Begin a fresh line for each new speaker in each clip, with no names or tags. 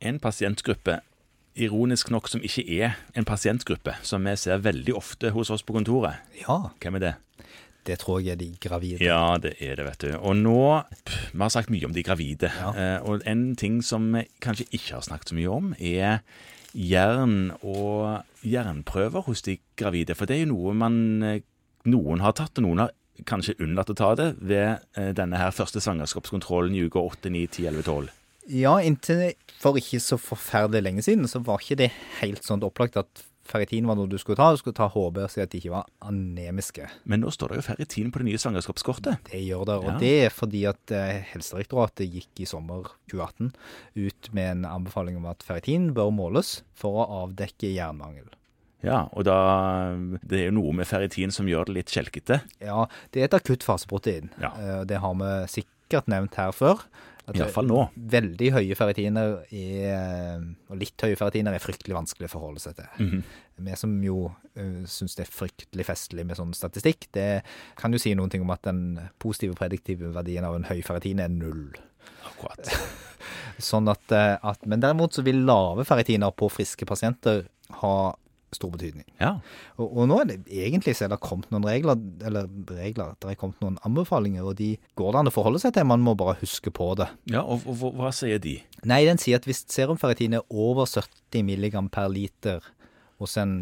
en pasientgruppe, ironisk nok som ikke er en pasientgruppe, som vi ser veldig ofte hos oss på kontoret.
Ja,
Hvem er det?
det tror jeg er de gravide.
Ja, det er det, vet du. Og nå pff, Vi har sagt mye om de gravide. Eh, og en ting som vi kanskje ikke har snakket så mye om, er jern og jernprøver hos de gravide. For det er jo noe man eh, Noen har tatt, og noen har kanskje unnlatt å ta det ved eh, denne her første svangerskapskontrollen i uke 8, 9, 10, 11, 12.
Ja, inntil for ikke så forferdelig lenge siden, så var ikke det helt sånn opplagt at ferritin var noe du skulle ta. Du skulle ta HB og si at de ikke var anemiske.
Men nå står det jo ferritin på det nye svangerskapskortet.
Det gjør det, og
Ja.
det er fordi at eh, Helsedirektoratet gikk i sommer 2018 ut med en anbefaling om at ferritin bør måles for å avdekke jernmangel.
Ja, og da Det er jo noe med ferritin som gjør det litt skjelkete.
Ja, det er et akutt faseprotein.
Ja.
Eh, Det har vi sikkert nevnt her før. At
I hvert fall nå.
Veldig høye ferritiner er, eh, og litt høye ferritiner er fryktelig vanskelig å forholde seg til. Vi som jo uh, syns det er fryktelig festlig med sånn statistikk, det kan jo si noen ting om at den positive prediktive verdien av en høy ferritin er null.
Akkurat.
Sånn at, eh, at, men derimot så vil lave ferritiner på friske pasienter ha stor betydning.
Ja.
Og, og nå er det egentlig så er det kommet noen regler, eller regler, det er kommet noen anbefalinger, og de går det an å forholde seg til, man må bare huske på det.
ja og, og hva- hva sier de?
Nei, den sier at hvis serumferritin er over 70 mg per liter hos en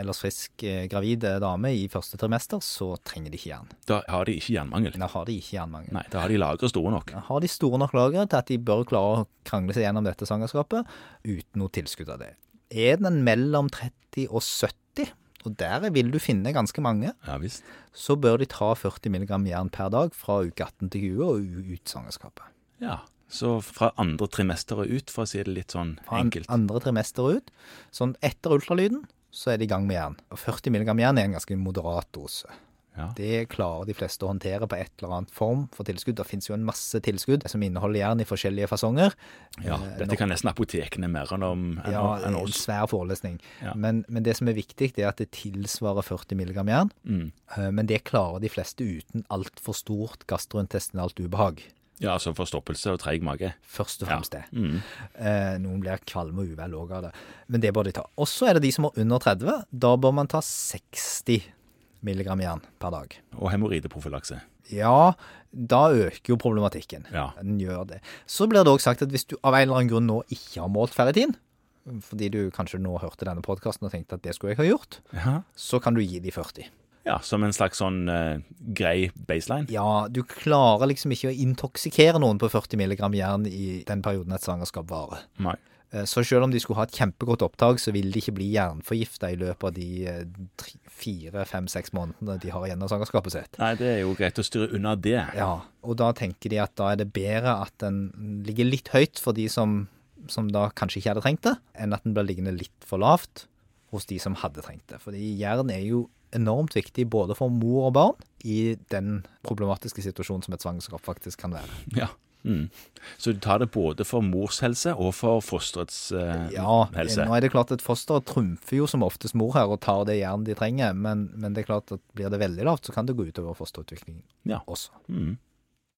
ellers frisk eh, gravid dame i første trimester, så trenger de ikke jern.
Da har de ikke jernmangel.
Da har de ikke jernmangel.
Nei, da har de lagre store nok.
Da Har de store nok lagre til at de bør klare å krangle seg gjennom dette svangerskapet uten noe tilskudd av det? Er den mellom 30 og 70, og der vil du finne ganske mange,
Ja visst.
så bør de ta 40 mg jern per dag fra uke 18 til 20 og u- ut svangerskapet.
Ja. Så fra andre trimester og ut, for å si det litt sånn
Fra an-
enkelt.
andre trimester og ut. Sånn etter ultralyden så er de i gang med jern. Og 40 mg jern er en ganske moderat dose.
Ja.
Det klarer de fleste å håndtere på et eller annet form for tilskudd. Det finnes jo en masse tilskudd som inneholder jern i forskjellige fasonger.
ja.
Eh,
Dette kan nesten apotekene mer enn om enn
Ja, eh,
enn
en
oss.
svær forelesning.
Ja.
Men, men det som er viktig, det er at det tilsvarer 40 mg jern.
Mm.
Eh, Men det klarer de fleste uten altfor stort gastrointestinalt ubehag.
Ja, altså forstoppelse og treig mage. Mm.
først og fremst det. Eh, noen blir kvalme og uvel òg av det, men det bør de ta. Og så er det de som er under 30. Da bør man ta 60 mg jern per dag.
Og hemoroideprofylakse.
Ja, da øker jo problematikken.
Ja.
Den gjør det. Så blir det òg sagt at hvis du av en eller annen grunn nå ikke har målt ferritin, fordi du kanskje nå hørte denne podkasten og tenkte at det skulle jeg ha gjort,
Ja.
så kan du gi de 40.
ja, som en slags sånn eh, grei baseline.
Ja, du klarer liksom ikke å intoksikere noen på 40 mg jern i den perioden et svangerskap varer.
Nei.
Eh, Så selv om de skulle ha et kjempegodt opptak, så vil de ikke bli jernforgifta i løpet av de eh, tre- fire, fem, seks månedene de har igjen av svangerskapet sitt.
Nei, det er jo greit å styre unna det.
Ja, og da tenker de at da er det bedre at den ligger litt høyt for de som, som da kanskje ikke hadde trengt det, enn at den blir liggende litt for lavt hos de som hadde trengt det. Fordi jern er jo enormt viktig både for mor og barn i den problematiske situasjonen som et svangerskap faktisk kan være.
Ja. Mm. Så du tar det både for mors helse og for fosterets eh,
Ja,
helse.
nå er det klart at fosteret trumfer jo som oftest mor her og tar det jern de trenger, men, men det er klart at blir det veldig lavt, så kan det gå utover fosterutviklingen
Ja.
også.
Mm.